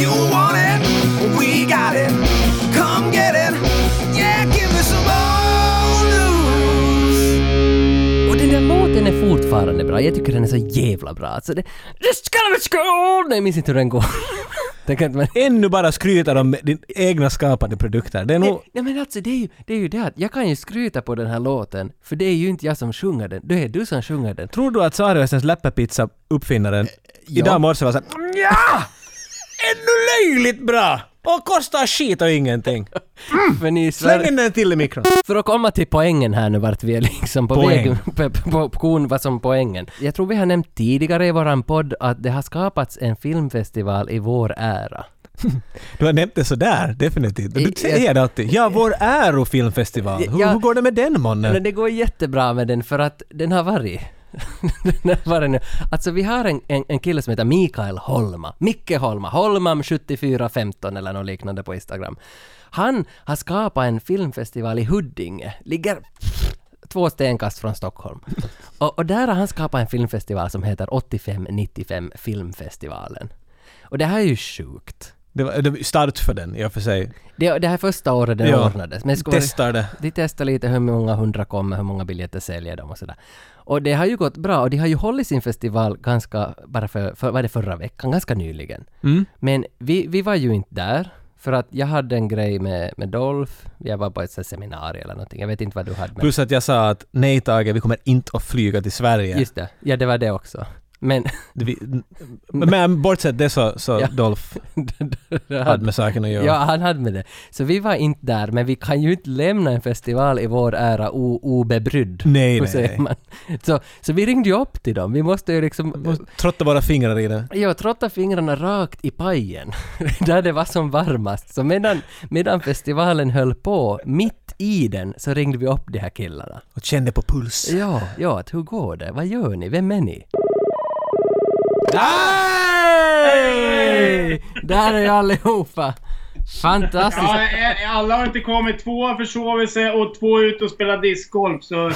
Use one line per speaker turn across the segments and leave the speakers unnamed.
You want it, we got it. Come get it. Yeah, give me some old news.
Och den där låten är fortfarande bra. Jag tycker den är så jävla bra. Alltså det... Just gonna be school! Nej, jag minns inte hur den går. den kan inte man...
Ännu bara skryter om din egna skapade produkter. Det är nog...
Nej men alltså det är, ju, det är ju det att jag kan ju skryta på den här låten, för det är ju inte jag som sjunger den, det är du som sjunger den.
Tror du att Saarösens läppepizza uppfinnaren idag morse var såhär ja Ännu löjligt bra! Och kostar skit och ingenting.
För, ni i
Släng
Sverige,
in den till i mikron.
för att komma till poängen här nu vart vi är liksom på
Poäng.
väg, på, på, på, kon vad som poängen. Jag tror vi har nämnt tidigare i våran podd att det har skapats en filmfestival i vår ära.
Du har nämnt det sådär, definitivt.
I-
Du säger det alltid. Ja, vår ärofilmfestival. Hur,
Ja.
hur går det med den
Men
månnen?
det går jättebra med den för att den har varit... den har varit nu. Alltså vi har en, en, en kille som heter Mikael Holma. Micke Holma. Holmam7415 eller något liknande på Instagram. Han har skapat en filmfestival i Huddinge. Ligger två stenkast från Stockholm. Och, och där har han skapat en filmfestival som heter 8595 Filmfestivalen. Och det här är ju sjukt.
Det var, det var start för den i och för sig.
Det, det här är första året den
Ja.
ordnades. Men det skulle vara-
Testar det.
de testar lite hur många hundra kommer, hur många biljetter säljer de och sådär. Och det har ju gått bra och de har ju hållit sin festival ganska, bara för, för var det förra veckan, ganska nyligen.
Mm.
Men vi, vi var ju inte där, för att jag hade en grej med, med Dolph, jag var på ett sånt här seminarium eller någonting, jag vet inte vad du hade med.
Plus att jag sa att nej Tage, vi kommer inte att flyga till Sverige.
Just det, ja det var det också. Men...
Vi, men bortsett det så, så
Ja.
Dolph hade med saken att göra.
Ja, han hade med det. Så vi var inte där, men vi kan ju inte lämna en festival i vår ära o- obebrydd.
Nej,
Hur
nej,
säger
nej.
man? Så, så vi ringde ju upp till dem. Vi måste ju liksom...
Och Trotta våra fingrar i den.
Jag trottade fingrarna rakt i pajen, där det var som varmast. Så medan, medan festivalen höll på, mitt i den, så ringde vi upp de här killarna.
Och kände på puls.
Ja, ja, att hur går det? Vad gör ni? Vem är ni? Hej! Där är allihopa! Fantastiskt!
Ja, eh, alla har inte kommit. Två har försovit sig och två är ute och spelar discgolf. Så det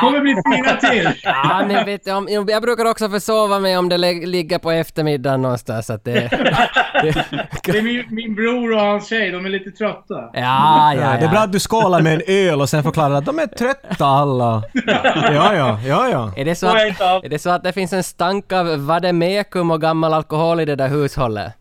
kommer bli fina till.
Ja, men vet du, om, jag brukar också försova mig om det lä- ligger på eftermiddagen någonstans. Så att det,
Det är min, min bror och hans tjej. De är lite trötta.
ja, ja, ja.
Ja, det är bra att du skålar med en öl och sen förklarar att de är trötta alla. Ja, ja, ja, ja.
Är det, så att, är det så att det finns en stank av vademekum och gammal alkohol i det där hushållet?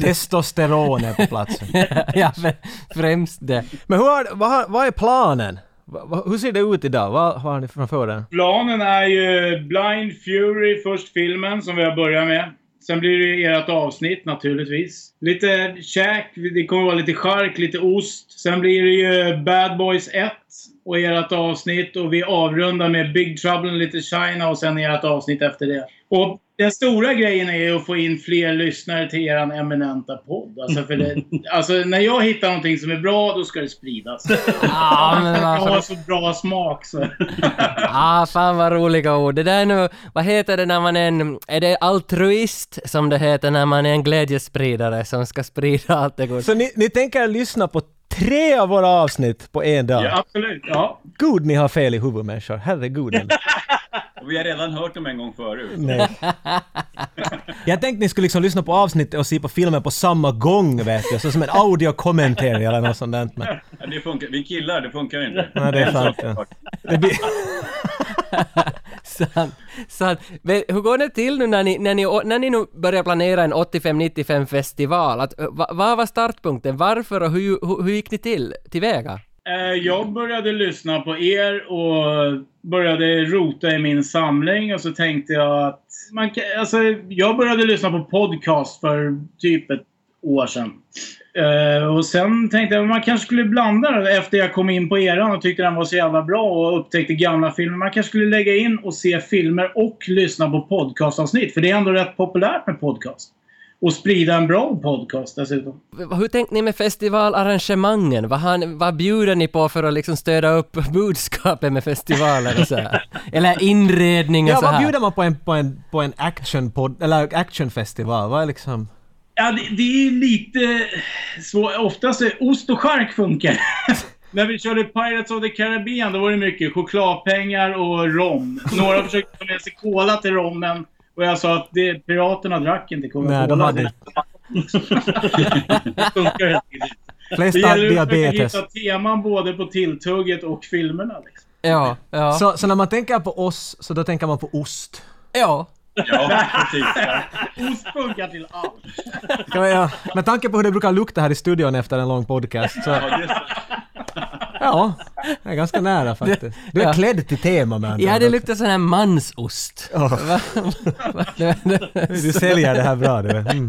Testosteron är på platsen.
ja, men främst det.
Men hur har, vad, har, vad är planen? Va- va- Hur ser det ut idag? Vad har ni framför er?
Planen är ju Blind Fury, först filmen som vi har börjat med. Sen blir det ju ert avsnitt naturligtvis. Lite käk, det kommer vara lite chark, lite ost. Sen blir det ju Bad Boys 1 och ert avsnitt. Och vi avrundar med Big Trouble in Little China och sen ert avsnitt efter det. Och den stora grejen är ju att få in fler lyssnare till eran eminenta podd. Alltså, för det, alltså när jag hittar någonting som är bra, då ska det spridas.
Ja, men alltså-
Jag
vad
har
fan,
så bra smak så.
ah, fan vad roliga ord. Det där är nu, vad heter det när man är en, är det altruist som det heter när man är en glädjespridare som ska sprida allt det goda?
Så ni, ni tänker lyssna på tre av våra avsnitt på en dag?
Ja, absolut. Ja.
Gud, ni har fel i huvudet människor. Herregud.
Och vi har redan hört dem en gång förut.
Nej. Jag tänkte ni skulle liksom lyssna på avsnittet och se på filmen på samma gång vet du. Så som en audio commentary eller något sånt där. Men,
Ja, Det funkar. Vi killar, det funkar inte.
nej, det är sant. Ja. Det blir...
Sant, sant. Men hur går det till nu när ni, när ni, när ni nu börjar planera en 85-95 festival? Att, eh, va, vad var startpunkten? Varför och hur, hur, hur gick ni till, tillväga?
Eh, Jag började lyssna på er och började rota i min samling och så tänkte jag att... Man kan, alltså, jag började lyssna på podcast för typ ett år sedan. Eh, och sen tänkte jag att man kanske skulle blanda det efter jag kom in på eran och tyckte den var så jävla bra och upptäckte gamla filmer. Man kanske skulle lägga in och se filmer och lyssna på podcastavsnitt. För det är ändå rätt populärt med podcast. Och sprida en bra podcast dessutom.
V- Hur tänkte ni med festivalarrangemangen? Vad, har, ni- vad bjuder ni på för att liksom stödja upp budskapet med festivaler och så här? Eller inredning och
Ja,
så
vad
här?
bjuder man på en, på en, på en actionpod, eller actionfestival? Vad är liksom...
Ja, det, det är lite svårt. Oftast är ost och chark funkar. När vi körde Pirates of the Caribbean då var det mycket chokladpengar och rom. Några försökte ta med sig cola till rommen och jag sa att det, piraterna drack inte Coca-Cola.
Nej, de hade inte.
Det funkar helt enkelt. Det
Flesta
gäller att försöka
diabetes.
hitta teman både på tilltugget och filmerna. Liksom.
Ja, ja.
Så, så när man tänker på oss, så då tänker man på ost.
ja.
Ja, precis. Ja.
Ost funkar till allt.
Kan man, ja. Med tanke på hur det brukar lukta här i studion efter en lång podcast så...
Ja, just det.
Ja, det är ganska nära faktiskt. Du är
Ja.
klädd till tema med andra
Ja, det
ord.
luktar sån här mansost. Va? Va? Det- det-
Du säljer det här bra du. Mm.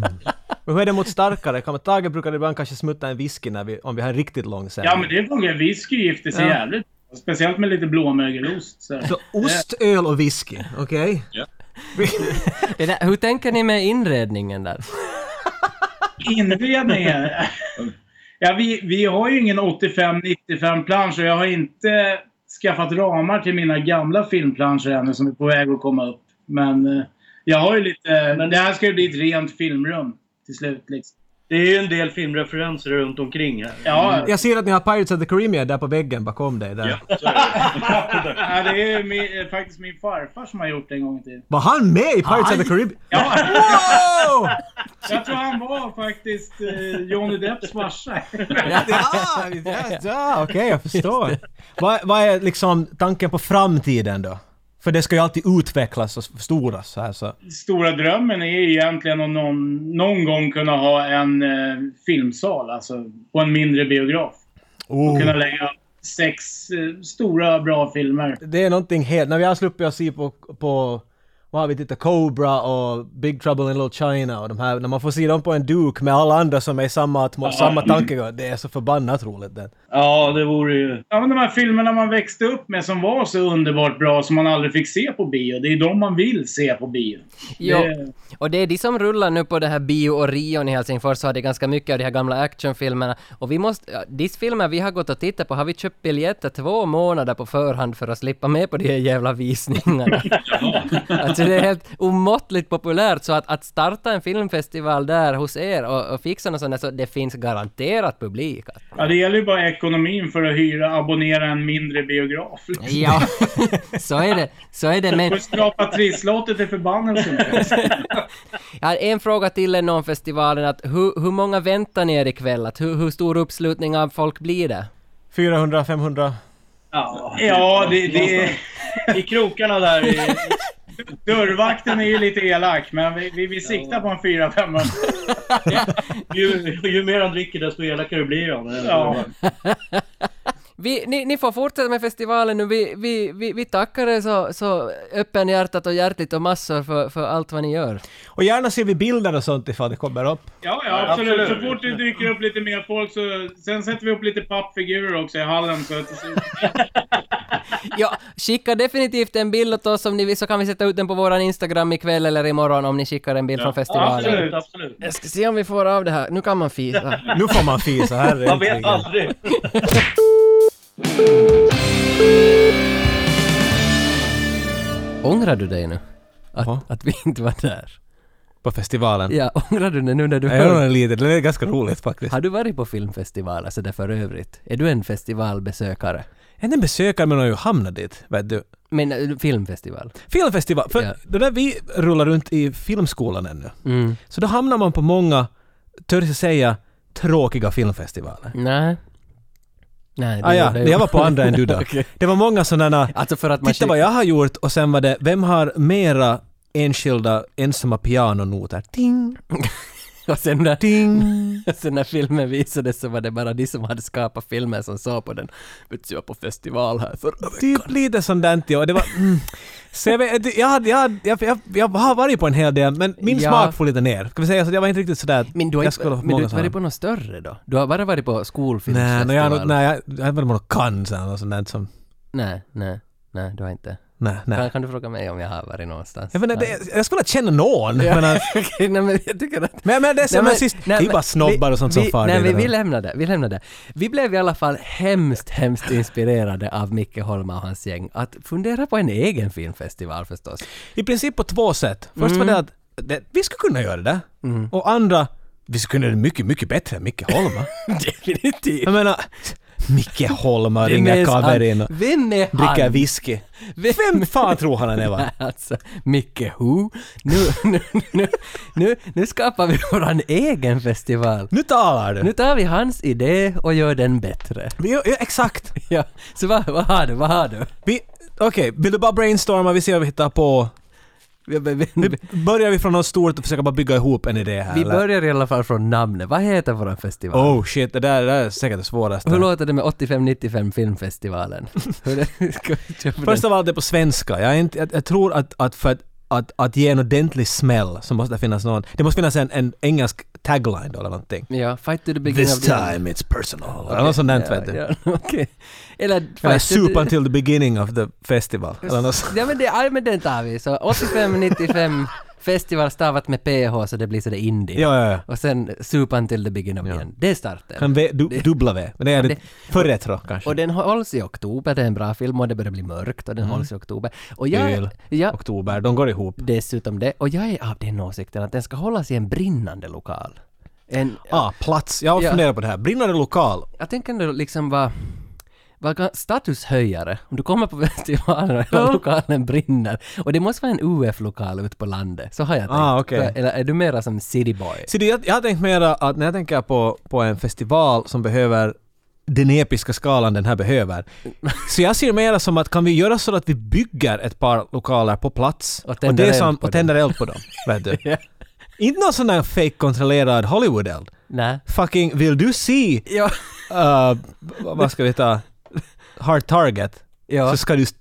Men hur är det mot starkare? Kan man, Tage brukar ibland kanske smutta en whisky när vi, om vi har en riktigt lång sändning.
Ja, men det funkar. Whisky gifter sig
Ja.
jävligt Speciellt med lite blåmögelost. Så.
Så ost, öl och whisky, okej?
Ja.
det där- Hur tänker ni med inredningen där?
Inredningen. Ja, vi, vi har ju ingen 85-95 plansch och jag har inte skaffat ramar till mina gamla filmplanscher ännu som är på väg att komma upp. Men eh, jag har ju lite... Men det här ska ju bli ett rent filmrum till slut. Liksom.
Det är ju en del filmreferenser runt omkring här.
Ja,
Jag ser att ni har Pirates of the Caribbean där på väggen bakom dig. Där.
Ja, så är det.
ja, det är ju min, eh, faktiskt min farfar som har gjort det en gång i tiden.
Var han med i Pirates of the Caribbean?
Ja,
Wow!
jag tror han var faktiskt eh, Johnny Depps farsa.
Ja, ja, ja okej jag förstår. Vad, vad är liksom tanken på framtiden då? För det ska ju alltid utvecklas och förstoras så här så.
stora drömmen är ju egentligen att någon, någon gång kunna ha en eh, filmsal, alltså på en mindre biograf.
Oh.
Kunna lägga sex eh, stora bra filmer.
Det är någonting helt... När vi har sluppit att se på, på vad har vi tittat? Cobra och Big Trouble in Little China och de här. När man får se dem på en duk med alla andra som är i samma, atmo- samma tankegång. Det är så förbannat roligt det.
Ja, det vore ju...
Ja, men de här filmerna man växte upp med som var så underbart bra som man aldrig fick se på bio. Det är de man vill se på bio.
Ja,
Det-
och det är de som rullar nu på det här Bio Orion i Helsingfors, så har det ganska mycket av de här gamla actionfilmerna. Och vi måste, ja, de filmer vi har gått och tittat på, har vi köpt biljetter två månader på förhand för att slippa med på de här jävla visningarna? alltså det är helt omåttligt populärt, så att, att starta en filmfestival där hos er och, och fixa något sånt där, så det finns garanterat publik.
Ja, det gäller ju bara ekonomin för att hyra, abonnera en mindre biograf. Liksom.
Ja, så är det, så är det, men
Och skrapa trisslotter till förbannelsen.
Jag har en fråga till er om festivalen, att hur, hur många väntar ni er ikväll? Att hur, hur stor uppslutning av folk blir det?
400, 500.
Ja.
Ja, det, det,
I krokarna där i...
Dörrvakten är ju lite elak, men vi, vi, vi siktar på en 4-5.
Ju, ju mer han dricker desto elakare blir han.
Ja.
Vi, ni, ni får fortsätta med festivalen nu, vi, vi, vi, vi tackar er så, så öppenhjärtat och hjärtligt och massor för, för allt vad ni gör.
Och gärna ser vi bilder och sånt ifall det kommer upp.
Ja, ja, absolut.
absolut.
Så fort det dyker upp lite mer folk så... Sen sätter vi upp lite pappfigurer också i hallen. Så att,
Ja, skicka definitivt en bild åt oss om ni vill så kan vi sätta ut den på våran Instagram ikväll eller imorgon om ni skickar en bild från festivalen.
Absolut, absolut.
Jag ska se om vi får av det här, nu kan man fira.
Nu får man fisa, herregud.
Man vet aldrig.
Ångrar du dig nu?
Ja.
Att, att vi inte var där?
På festivalen.
Ja, ångrar du dig nu när du
Jag gör det lite, det är ganska roligt faktiskt.
Har du varit på filmfestivaler så där för övrigt? Är du en festivalbesökare?
Är det en besökare men har ju hamnat dit, vet du.
Men eh, filmfestival?
Filmfestival, för
Ja.
då när vi rullar runt i filmskolan ännu, så då hamnar man på många, törs jag säga, tråkiga filmfestivaler.
Nej. Nej,
Ah, ja,
gjorde
jag var på andra än du då.
Okej.
Det var många sådana,
Alltså för att man...
titta vad jag har gjort och sen var det, vem har mera enskilda ensamma pianonoter? Ting,
Och sen när,
ting.
sen när filmen visades så var det bara de som hade skapat filmen som sa på den. Vet du, jag var på festival här förra veckan.
Typ lite sånt där inte jag. Det var... Mm. Så jag, vet, jag, hade- jag, hade- jag, jag, jag har varit på en hel del, men min
Ja.
smak får lite ner. Ska vi säga så? Jag var inte riktigt sådär...
Men du har
jag
inte,
skulle
men
ha haft
du har
många
inte varit på
sådana.
något större då? Du har bara varit på
Nej,
skolfilmsfestival?
no, jag, har nog- nej, jag, jag har inte varit på något Cannes eller något sånt där som...
nej. Nej, nej, du har inte.
Nej,
Kan,
nej.
kan du fråga mig om jag har varit någonstans?
Jag, menar,
Nej.
det, jag skulle känna någon, men, att-
Okej, nej men jag tycker att...
men, men det är som en sist... det är ju bara snobbar och sånt
vi,
som far
Nej,
dit
vi,
och
vi
där.
lämnar det. Vi lämnar det. Vi blev i alla fall hemskt, hemskt inspirerade av Micke Holma och hans gäng att fundera på en egen filmfestival förstås.
I princip på två sätt. Först var
Mm.
det att det, vi skulle kunna göra det. Och andra, vi skulle kunna göra det mycket, mycket bättre än Micke Holma.
Definitivt!
jag menar, Micke Holm och
Vem
ringer
är han?
kamerin och
Vem är han?
dricker whisky.
Vem-
Vem fan tror han han är va?
Alltså, Micke Who? Nu, nu, nu, nu, nu skapar vi våran egen festival.
Nu talar
Nu
du!
tar vi hans idé och gör den bättre.
Vi- Ja, exakt!
Ja, så vad, vad har du, vad har du?
Vi- Okej, vill du bara brainstorma? Vi ser vad vi hittar på.
Vi, vi,
Nu börjar vi från något stort och försöker bara bygga ihop en idé här.
vi
eller?
börjar i alla fall från namnet. Vad heter våran festival?
Oh shit, det där, det där är säkert det svåraste.
Hur låter det med 85-95 filmfestivalen? Hur det- ska vi köpa den?
Först av allt det är på svenska. Jag, är inte, jag, jag tror att, att för att, att, att ge en ordentlig smäll så måste det finnas någon... Det måste finnas en, en engelsk tagline då eller någonting.
Ja, fight to the beginning
This
of the end.
time it's personal. Eller något sånt där vet du.
Ja, ja, okej. Eller
Eller
fight to
soup
the-
until the beginning of the festival. Eller något sånt.
Ja men, det, ja men den tar vi. Så 85-95 festival stavat med PH så det blir sådär indie.
Ja, ja, ja.
Och sen supan till the beginning of the end. Det är starten.
En v, du, dubbla V. Men det är det, förrättra kanske.
Och den hålls i oktober, det är en bra film och det börjar bli mörkt och den
Mm.
hålls i oktober. Och jag,
Jul,
jag,
oktober. De går ihop.
dessutom det, och jag är av den åsikten att den ska hållas i en brinnande lokal. En,
Ah, plats. Jag
Ja.
funderar på det här. Brinnande lokal.
jag tänker ändå liksom vara vara gan- statushöjare. Om du kommer på festivalen och hela lokalen brinner. Och det måste vara en UF-lokal ute på landet. Så har jag tänkt.
Ah, okej.
Eller är du mera som cityboy?
Så det, jag, jag har tänkt mera att när jag tänker på, på en festival som behöver den episka skalan den här behöver. Så jag ser mera som att kan vi göra så att vi bygger ett par lokaler på plats
Och tänder
det
eld
som,
på
och tänder eld på dem. Vet du? Inte någon sån där fake-kontrollerad Hollywood-eld.
Nej.
Fucking, vill du se,
Ja.
uh, vad ska vi ta, Hard Target?
ja.
Så ska du s-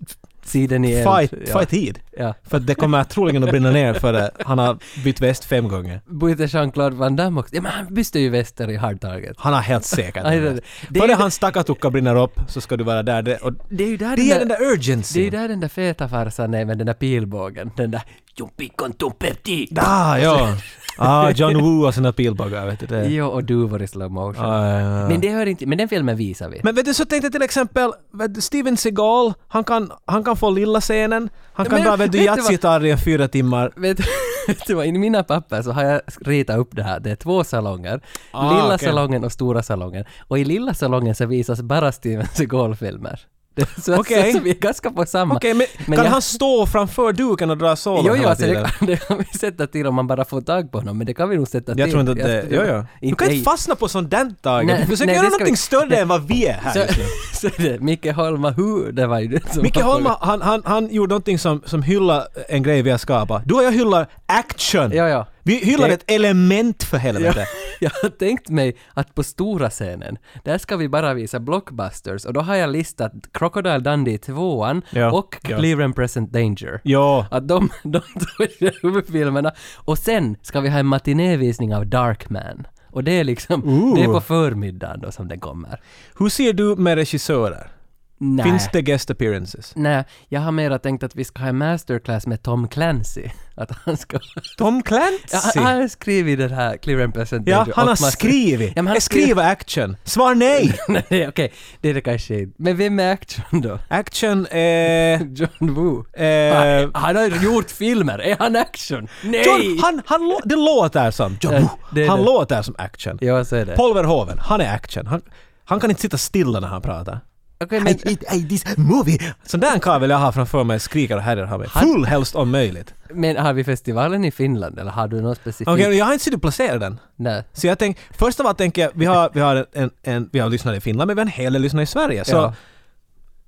Sidan i eld.
fight,
Ja.
fight hit.
Ja.
För att det kommer troligen att brinna ner för det. han har bytt väst fem gånger.
Byter Jean-Claude Van Damme också? Ja men han bytte ju väster i Hard Target.
Han har helt säkert
Nej, det-
det.
det-
Före
det-
hans takatuka brinner upp så ska du vara där. Det, och
Det är ju där
det är den där urgency.
det är ju där den där feta farsan är med den där pilbågen. Den där Jumpikon Tumpepti!
Ah, ja. Ah, John Woo och sina pilbågar, vet du det.
Jo, och duvor i slow motion.
Eh. Ah, ja, ja.
Men det hör inte... Men den filmen visar vi.
Men vet du, så tänkte jag till exempel, vet du, Steven Seagal, han kan, han kan få lilla scenen, han kan
Men
dra vet du
vet du vad-
jazzgitarr i fyra timmar.
Vet, vet du vad, i mina papper så har jag ritat upp det här. Det är två salonger.
Ah,
lilla
okej.
salongen och stora salongen. Och i lilla salongen så visas bara Steven Seagal-filmer. Det- Så,
Okej.
så, så vi är ganska på samma.
Okej, men,
Men
kan
jag-
han stå framför duken och dra solo
Jo, jo,
hela
alltså
tiden?
det, kan- det kan vi sätta till om man bara får tag på honom, men det kan vi nog sätta till.
Jag tror inte att det... Jo, jo. Du kan
fast
inte fastna på sånt där Tage.
Nej,
Du försöker
nej,
göra
det ska vi-
någonting större än vad vi är här just
Så,
nu.
så det, Micke Holma, hur? Det var ju det som
Micke
var-
Holm, han, han, han gjorde någonting som, som hyllar en grej vi har skapat. Du och jag hyllar action!
Ja, ja.
Vi hyllar
Det-
ett element för helvete.
Jag har tänkt mig att på stora scenen, där ska vi bara visa blockbusters och då har jag listat Crocodile Dundee 2
Ja.
och
Ja.
Clear and Present Danger.
Ja.
Att de, de två är huvudfilmerna. Och sen ska vi ha en matinévisning av Darkman. Och det är liksom, det är på förmiddagen då som det kommer.
Hur ser du med regissörer?
Nej.
Finns det guest appearances?
Nej, jag har mera tänkt att vi ska ha en masterclass med Tom Clancy. Att han ska...
Tom
Ja,
Clancy?
han han har skrivit den här Clear and Present
Ja,
Danger
han
och
har
massa-
skrivit.
Ja, men han
Jag skriver action. Svar nej!
Nej, okej. Det är det kanske inte. Men vem är action då?
Action är...
John Woo?
Eh,
han har ju gjort filmer. Är han action? Nej!
John, han, han, lå- det låter som... John,
Ja,
Woo.
det är
han
det.
låter som action.
Ja, så är det.
Paul Verhoeven, han är action. Han, han kan inte sitta stilla när han pratar.
Okej, men,
I, I, I, eh, this movie! Sån där karl vill jag ha framför mig, skriker och härjar han mig. Full helst om möjligt.
men har vi festivalen i Finland eller har du något specifikt?
Okej, jag har inte sett du placera den.
Nej.
Så jag tänk, först av allt tänker jag, vi har, vi har en, en, vi har lyssnare i Finland men vi har en hel del lyssnare i Sverige. Så
Ja.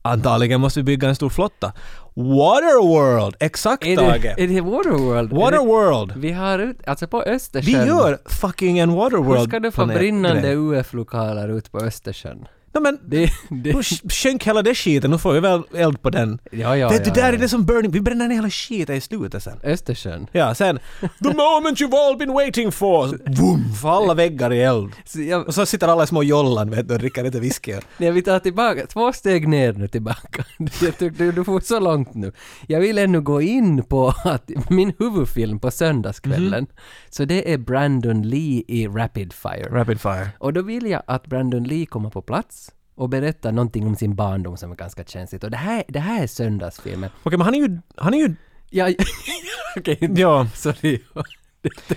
antagligen måste vi bygga en stor flotta. Waterworld! Exakt
Är det,
Tage!
är det Waterworld? Är det-
Waterworld!
Vi har ut, alltså på
Vi
Östersjön.
gör fucking en Waterworld
Hur ska du få
planet-
brinnande
grej.
UF-lokaler ut på Östersjön?
Nej men,
Det, det,
nu sh- sjönk hela det skiten, nu får vi väl eld på den.
ja, ja,
Vet du,
ja,
där
ja.
är det som burning, vi bränner ner hela skiten i slutet sen.
Östersjön.
Ja, sen “The moment you've all been waiting for!” Så, Vroom! För alla väggar i eld.
Så jag,
Och så sitter alla i små jollan vet du och dricker lite whisky.
nej, vi tar tillbaka, två steg ner nu tillbaka. Jag tyckte du, du får så långt nu. Jag vill ännu gå in på att min huvudfilm på söndagskvällen,
Mhm.
så det är Brandon Lee i Rapid Fire.
Rapid fire.
Och då vill jag att Brandon Lee kommer på plats och berättar någonting om sin barndom som är ganska känsligt. Och det här, det här är söndagsfilmen.
Okej men han är ju, han är ju,
Ja, okej.
ja.
Sorry.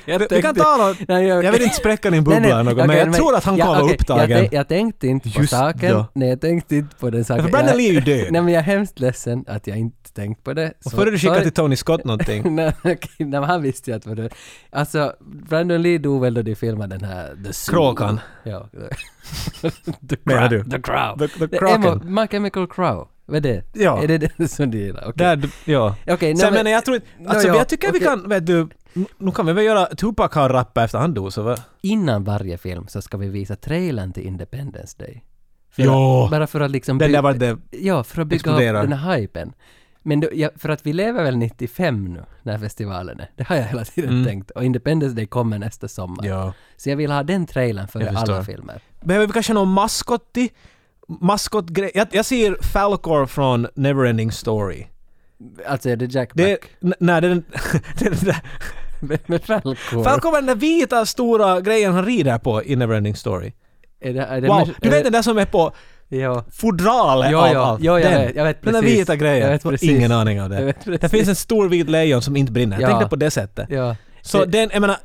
Jag
Vi kan
tänkte-
tala...
Nej,
Jag vill inte spräcka din bubbla eller något, men
okej,
jag tror att han
ja,
kommer vara
okej, Jag,
upptagen.
tän- jag tänkte inte på
Just
saken.
då.
Nej, jag tänkte inte på den saken.
För Brandon
Jag-
Lee är ju död.
Nej, men jag är hemskt ledsen att jag inte tänkt på det.
Och
Så-
före du skickar
sorry.
till Tony Scott någonting.
Nej, okej, nej, men han visste ju att det var död. Alltså, Brandon Lee dog väl då de filmade den här The Zoo.
Kråkan.
Ja. the,
Menar
Crow-
du?
the Crow.
The- the
Det är
Kraken.
Emma- My Chemical Crow. Vad är det?
Ja.
Är det det som du gillar? Okej.
Där, ja.
Okej, nej, men-
Sen menar jag tror inte...
Nå,
Alltså
ja,
jag tycker vi
okej.
kan, vet du... nu- Nu kan vi väl göra... Tupac har rappat efter han dog så va?
innan varje film så ska vi visa trailern till Independence Day. För
Ja.
att, bara för att liksom...
Den
by-
där var det...
Ja, för att bygga
exploderar.
upp den här hypen. Men då, ja, för att vi lever väl 95 nu, när festivalen är. Det har jag hela tiden tänkt. Och Independence Day kommer nästa sommar.
Mm. Ja.
Så jag vill ha den trailern före
Jag förstår.
alla filmer.
Behöver vi kanske någon maskot till? Maskotgrej? Jag, jag ser Falcor från Neverending Story.
Alltså är det Jack
Det...
Black?
n- Nej, det är den... det är den där...
Med, med Falcor?
Falcor var den där vita stora grejen han rider på i Neverending Story.
Är det, är det
Wow!
med-
Du
är
vet
det,
den där som är på
Ja.
fodralet
Ja,
av
ja.
allt?
Ja, jag
den.
vet- jag vet
den där
precis.
vita
Jag
grejen.
vet
Jag har
precis.
ingen aning om
Jag
det.
vet precis.
Det finns en stor vit lejon som inte brinner.
Ja.
Tänk dig på det sättet.
ja. Det-
Så den, jag menar...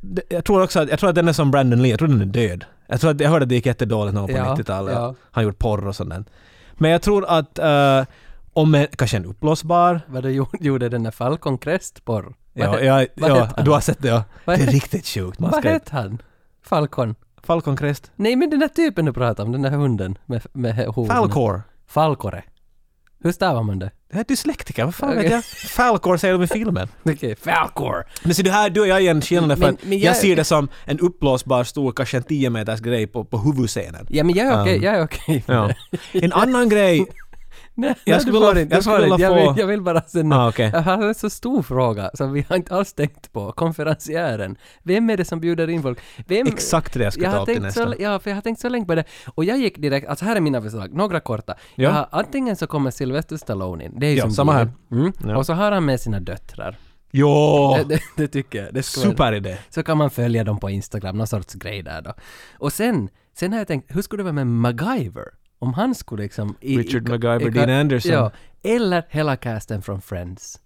det- Jag tror också att, jag tror att den är som Brandon Lee, jag tror den är död. Jag tror att, jag hörde att det gick jättedåligt någon på
Ja,
90-talet.
ja.
Han gjort porr och sånt där. Men jag tror att, eh, om en, kanske en uppblåsbar
Vad du gjorde- gjorde den där Falcon Crest-porr? Vad
Ja,
he-
ja,
vad
ja
hette han?
du har sett det ja. Det
Vad
är
hette-
riktigt sjukt. Man
Vad
ska,
hette han? Falcon?
Falcon Crest.
Nej men den där typen du pratade om, den där hunden med, med hornen.
Falcor.
Falkore. Hur stavar man det?
Det här är dyslektiker, vad fan vet
Okej.
jag? Falcor säger de i filmen.
Okej, Falkor!
Men ser du här, du och jag igen skillnaden för
Men-
att
men
jag...
jag-
ser det som en uppblåsbar stor, kanske en 10 meters grej på, på huvudscenen.
Ja men jag är okej,
Um,
jag är okej med
Ja.
det.
En annan grej...
Nej,
Jag
nej,
skulle
du
vilja-
får inte,
jag
du
skulle
får inte.
vilja
jag
få-
vill, jag vill bara sen...
Ah, okej.
Jag har en så stor fråga som vi har inte alls tänkt på. Konferenciären. Vem är det som bjuder in folk? Vem...
Exakt det jag ska
jag
ta
har
upp till
tänkt
nästa.
så, Ja, för jag har tänkt så länge på det. Och jag gick direkt, alltså här är mina förslag, några korta.
Ja.
Jag har, antingen så kommer Sylvester Stallone in, det är ju
Ja,
som
samma
givet. Mm.
Ja.
Och så har han med sina döttrar.
Jo!
Det, det, det tycker jag. Det ska vara-
Superidé.
Så kan man följa dem på Instagram, någon sorts grej där då. Och sen, sen har jag tänkt, hur skulle det vara med MacGyver? Om han skulle liksom... i-
Richard
i-
MacGyver,
i-
Dean Anderson.
Ja, eller hela casten från Friends.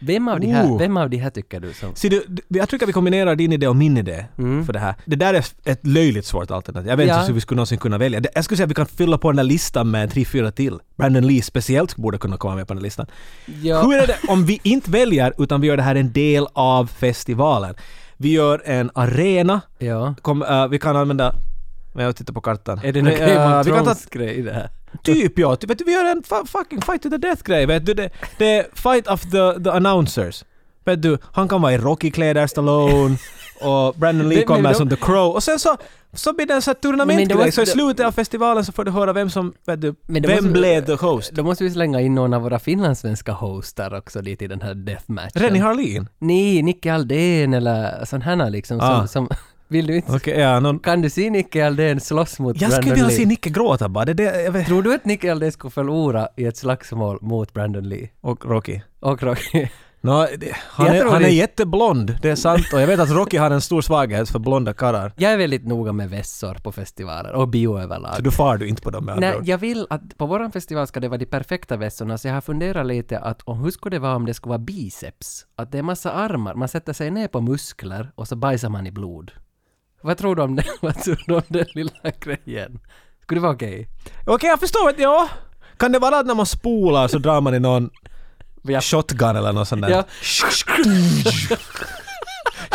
Vem av, de här,
Ooh.
vem av de här tycker du som...
Ser du, d- jag tycker att vi kombinerar din idé och min idé för det här. Det där är ett löjligt svårt alternativ. Jag vet
Mm. Ja.
inte hur vi skulle någonsin kunna välja. Det- Jag skulle säga att vi kan fylla på den där listan med tre, fyra till. Brandon Lee speciellt borde kunna komma med på den här listan.
Ja.
Hur är det om vi inte väljer, utan vi gör det här en del av festivalen? Vi gör en arena.
Ja.
Kom, eh, vi kan använda... Men jag tittar på kartan.
Är det någon
Nej,
Game
eh,
of
vi kan ta
Thrones-grej det här?
Typ ja, typ, vet du, vi gör en fa- fucking fight to the death-grej. Vet du, det, det är fight of the, the announcers. Vet du, han kan vara i Rocky-kläder, Stallone, och Brandon Lee
Det- men
kommer
de-
som The Crow. Och sen så, så blir det en sån här
Men det var-
turnamentgrej. Så i slutet av festivalen så får du höra vem som, vet du,
Men det
vem
måste-
blev the host?
Då måste vi slänga in någon av våra finlandssvenska hostar också dit i den här deathmatchen.
Rennie Harlin?
Nej, Nicke Aldén eller sån här liksom som...
Ah.
som vill du inte...
Okej, ja, någon...
Kan du se Nicke Aldén slåss mot
Jag skulle
Brandon
vilja
Lee?
se Nicke gråta bara. Det är det, jag vet.
Tror du att Nicke Aldén skulle förlora i ett slagsmål mot Brandon Lee?
Och Rocky.
Och Rocky?
Nå, det, han,
Jag
är,
tror
han
det-
är jätteblond, det är sant. Och jag vet att Rocky har en stor svaghet för blonda karlar.
Jag är väldigt noga med vässor på festivaler och bio
Så
överlag.
då far du inte på dem med andra
Nej,
ord.
jag vill att på våran festival ska det vara de perfekta vässorna, så jag har funderat lite att om hur skulle det vara om det skulle vara biceps? Att det är massa armar, man sätter sig ner på muskler och så bajsar man i blod. Vad tror du om det? Vad tror du om den lilla grejen? Skulle det vara okej?
Okej, jag förstår. att- Ja. Kan det vara att när man spolar så drar man i någon
Ja.
shotgun eller något sånt där?
Ja.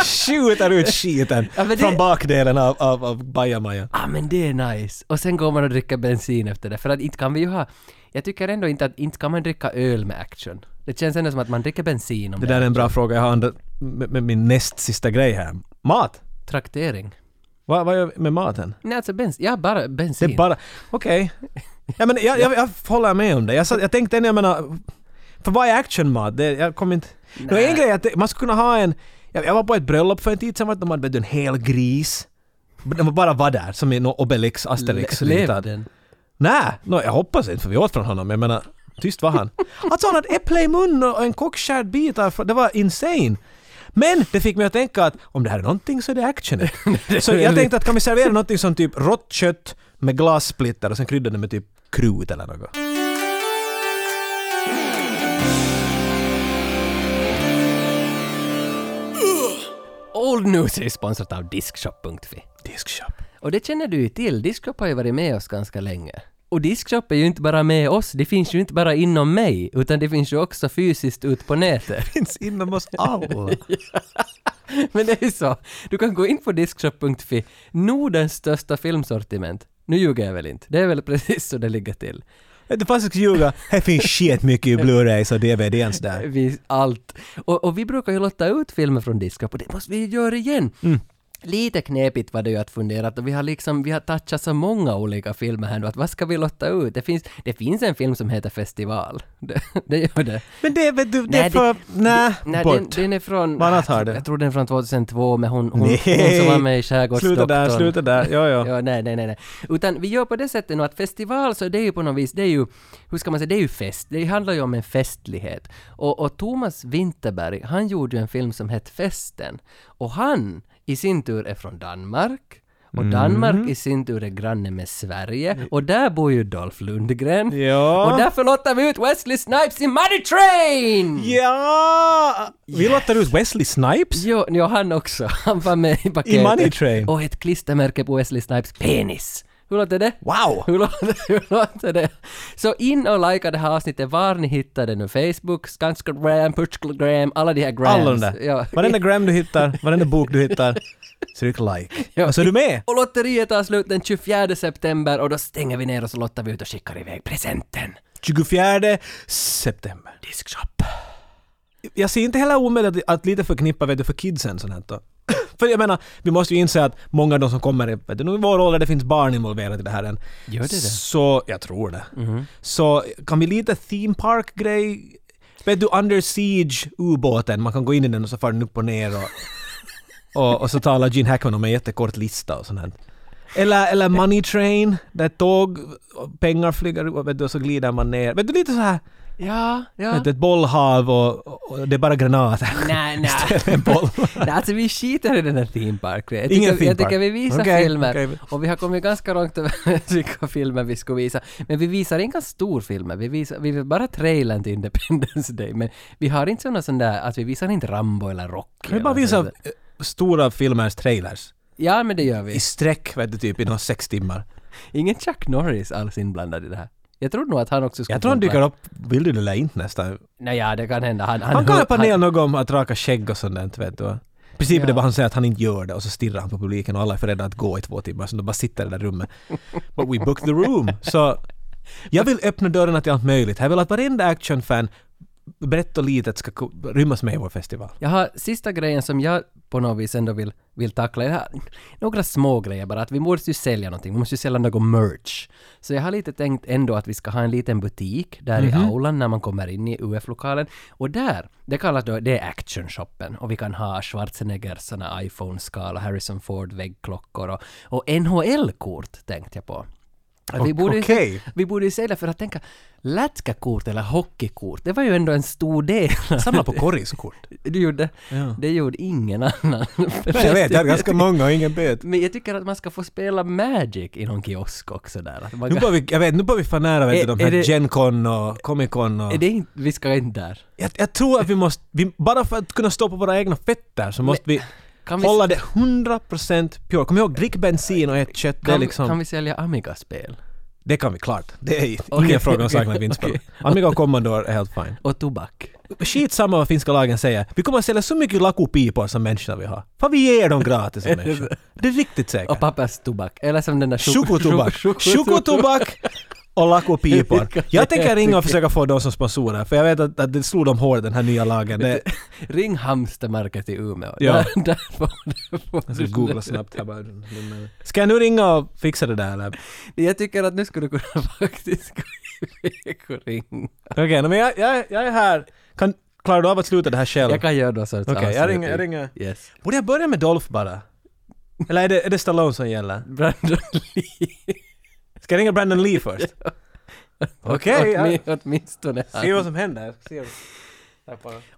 Skjuter ut skiten
Ja, men det-
från bakdelen av, av, av bajamajan.
ah men det är nice. Och sen går man och dricker bensin efter det, för att inte kan vi ju ha... Jag tycker ändå inte att inte kan man dricka öl med action. Det känns ändå som att man dricker bensin om
Det
det,
där är en bra fråga. Jag har andra, med, med min näst sista grej här. Mat!
Traktering.
Vad, vad gör vi med maten?
Nej alltså bensin, ja bara bensin.
Det är bara... Okej. Ja, men jag, jag, jag håller med om det. Jag, sa- jag tänkte, jag menar... För vad är actionmat? Det, jag kommer inte... Nå, en grej är att det- man skulle kunna ha en... Jag, jag var på ett bröllop för en tid sedan, vart de hade vet du, en hel gris. De bara var där, som i någon Obelix, Asterix.
Le-
liknande.
lever den?
Nej, nå, jag hoppas inte för vi åt från honom. Jag menar, tyst var han. Alltså han hade äpple i mun och en kockskärd bit av- Det var insane. Men det fick mig att tänka att om det här är någonting så är det action. så jag tänkte att kan vi servera någonting som typ rått kött med glassplitter och sen krydda det med typ krut eller något.
Old News är sponsrat av Diskshop.fi.
Diskshop.
Och det känner du ju till, Diskshop har ju varit med oss ganska länge. Och Diskshop är ju inte bara med oss, det finns ju inte bara inom mig, utan det finns ju också fysiskt ut på nätet.
Finns inom oss alla.
Men det är ju så. Du kan gå in på diskshop.fi, Nordens största filmsortiment. Nu ljuger jag väl inte. Det är väl precis så det ligger till.
Inte fast jag ska ljuga, här finns shit mycket i Blu-rays och DVDs där.
Vi, allt. Och, och vi brukar ju låta ut filmer från Diskshop och det måste vi ju göra igen. Lite knepigt var det ju att fundera att vi har liksom, vi har touchat så många olika filmer här nu att vad ska vi låta ut? Det finns, det finns en film som heter Festival. Det, det gör det.
Men det vet du, det är
Nej, det-
för... Nej,
Nej, den,
bort.
den är från...
Vad annat har du?
Jag tror den är från 2002 med hon, hon, hon
Nej.
som var med i Skärgårdsdoktorn.
Sluta där, sluta där. Ja, ja.
Ja, nej, nej, nej, nej. Utan vi gör på det sättet nog att festival så det är ju på något vis, det är ju, hur ska man säga, det är ju fest. Det handlar ju om en festlighet. Och, och Thomas Winterberg, han gjorde ju en film som hette Festen. Och han i sin tur är från Danmark. Och
Mm.
Danmark i sin tur är granne med Sverige. Och där bor ju Dolph Lundgren.
Ja.
Och därför låter vi ut Wesley Snipes i Money Train!
Ja! Vi låter ut Wesley Snipes.
Jo, jo, han också. Han var med i paketet.
I Money Train.
Och ett klistermärke på Wesley Snipes penis. Hur låter det?
Wow!
Hur låter, hur låter det? Så in och likea det här avsnittet var ni hittar det nu. Facebook, Skanskagram, Putchgram, alla de här grams.
Alla de där.
Ja.
Varenda gram du hittar, varenda bok du hittar, tryck like.
Ja.
Och så är du med!
Och lotteriet tar slut den 24 september och då stänger vi ner och så lottar vi ut och skickar iväg presenten.
24 september.
Diskshop.
Jag ser inte heller omöjligt att, att lite förknippa vet du, för kidsen sånt här då. För jag menar, vi måste ju inse att många av de som kommer i, vet du, nu i vår ålder, det finns barn involverade i det här än.
Gör det Mhm. det?
Så, jag tror det. Så kan vi lite theme park-grej? Vet du, Under Siege, ubåten, man kan gå in i den och så far den upp och ner och... Och, och så talar Gene Hackman om en jättekort lista och sånt här. Eller, eller Money Train, där tåg, och pengar flyger upp och vet du, och så glider man ner. Vet du, lite så här...
Ja, ja.
Ett, ett bollhav och, och och det är bara granater.
Nej, nej.
Istället en boll.
Nej, alltså vi skiter i den här theme park. Jag
Ingen
tycker,
theme
jag tycker
park.
vi visar
Okej,
filmer.
okej.
Och vi har kommit ganska långt över vilka filmer vi ska visa. Men vi visar inga storfilmer. Vi visar vi vill bara trailern till Independence Day. Men vi har inte sådana sån där, att vi visar inte Rambo eller Rocky.
Vi bara
eller
visar
sånt.
eh, stora filmers trailers.
Ja, men det gör
I
vi.
sträck vet du typ i några sex timmar.
Ingen Chuck Norris alls inblandad i det här. Jag tror nog att han också skulle...
Jag tror han
kunna-
dyker upp, vill du det eller inte nästan.
Nej, ja, det kan hända. Han, han,
Han kan ha
han-
panel någon gång om att raka skägg och sånt där, vet du. va? I princip är det
Ja.
bara han säger att han inte gör det och så stirrar han på publiken och alla är för rädda att gå i två timmar så de bara sitter i det där rummet. But we booked the room. Så jag vill öppna dörrarna till allt möjligt. Jag vill att varenda actionfan, brett och litet, ska ko- rymmas med i vår festival.
Jag har sista grejen som jag på något vis ändå vill, vill tackla. Jag har några små grejer bara, att vi måste ju sälja någonting, vi måste ju sälja något merch. Så jag har lite tänkt ändå att vi ska ha en liten butik där i aulan när man kommer in i UF-lokalen. Och där, det kallas då, det är actionshoppen och vi kan ha Schwarzenegger såna iPhone-skal och Harrison Ford väggklockor och, och NHL-kort tänkte jag på. Att Vi borde,
okej.
vi borde ju sälja för att tänka, lätkakort eller hockeykort, det var ju ändå en stor del
Samla på korriskort.
du gjorde? Det gjorde ingen annan.
Jag vet, jag har ganska många och ingen böt.
Men jag tycker att man ska få spela Magic i någon kiosk också där. Att man
Nu
kan,
bör vi, jag vet, nu bör vi fan nära vet
Är-
du,
är
de här
det-
Gen Con och Comic Con och...
är det inte, vi ska inte där.
Jag, jag tror att vi måste, vi, bara för att kunna stå på våra egna fötter så måste vi
Kan vi,
hålla det 100% pure. Kom ihåg, drick bensin och ät kött. det, är
kan,
liksom,
kan vi sälja Amiga-spel?
det kan vi klart. Det är
Okej,
ingen fråga om saken att vi inte
okej.
spelar. Amiga och Commodore är helt fine.
Och tobak?
Skit samma vad finska lagen säger. Vi kommer att sälja så mycket lakopipor som människorna vi har. För vi ger dem gratis som människor. Det är riktigt säkert.
Och papperstobak? Eller som den där... chok-
Chokotobak.
chok- chok-
Chokotobak och lakopipor. Jag tänker ringa och försöka få dem som sponsorer, för jag vet att, att det slog dem hårt den här nya lagen. Det,
Ring Hamstermarket i Umeå.
Ja.
Där, där får, där får
jag
du-
ska googla snabbt här bara. Ska jag nu ringa och fixa det där eller?
Jag tycker att nu skulle du kunna faktiskt gå iväg och ringa.
Okej, nå, men jag, jag, jag är här. Kan, klarar du av att sluta det här själv?
Jag kan göra någon sorts
Okej, jag ringer- jag
avslutning.
ringer.
Yes.
Borde jag börja med Dolph bara? Eller är det, är det Stallone som gäller?
Brandon Lee.
Ska jag ringa Brandon Lee först? Okej,
Åtmin-
ja.
åtminstone han.
se vad som händer. Jag ska se.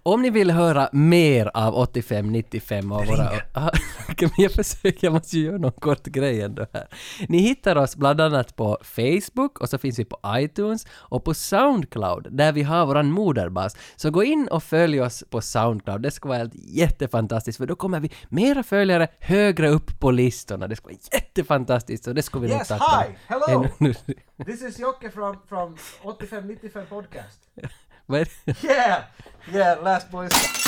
Om ni vill höra mer av 8595 och våra... försöker, men jag försöker, jag måste ju göra någon kort grej ändå här. Ni hittar oss bland annat på Facebook och så finns vi på iTunes och på Soundcloud där vi har våran moderbas. Så gå in och följ oss på Soundcloud, det ska vara helt jättefantastiskt för då kommer vi mera följare högre upp på listorna. Det ska vara jättefantastiskt och det ska vi
Yes,
nog tacka.
hi! Hello!
Ännu-
This is Jocke from, from 85-95 podcast.
Vad är det?
Yeah! Yeah, last boys.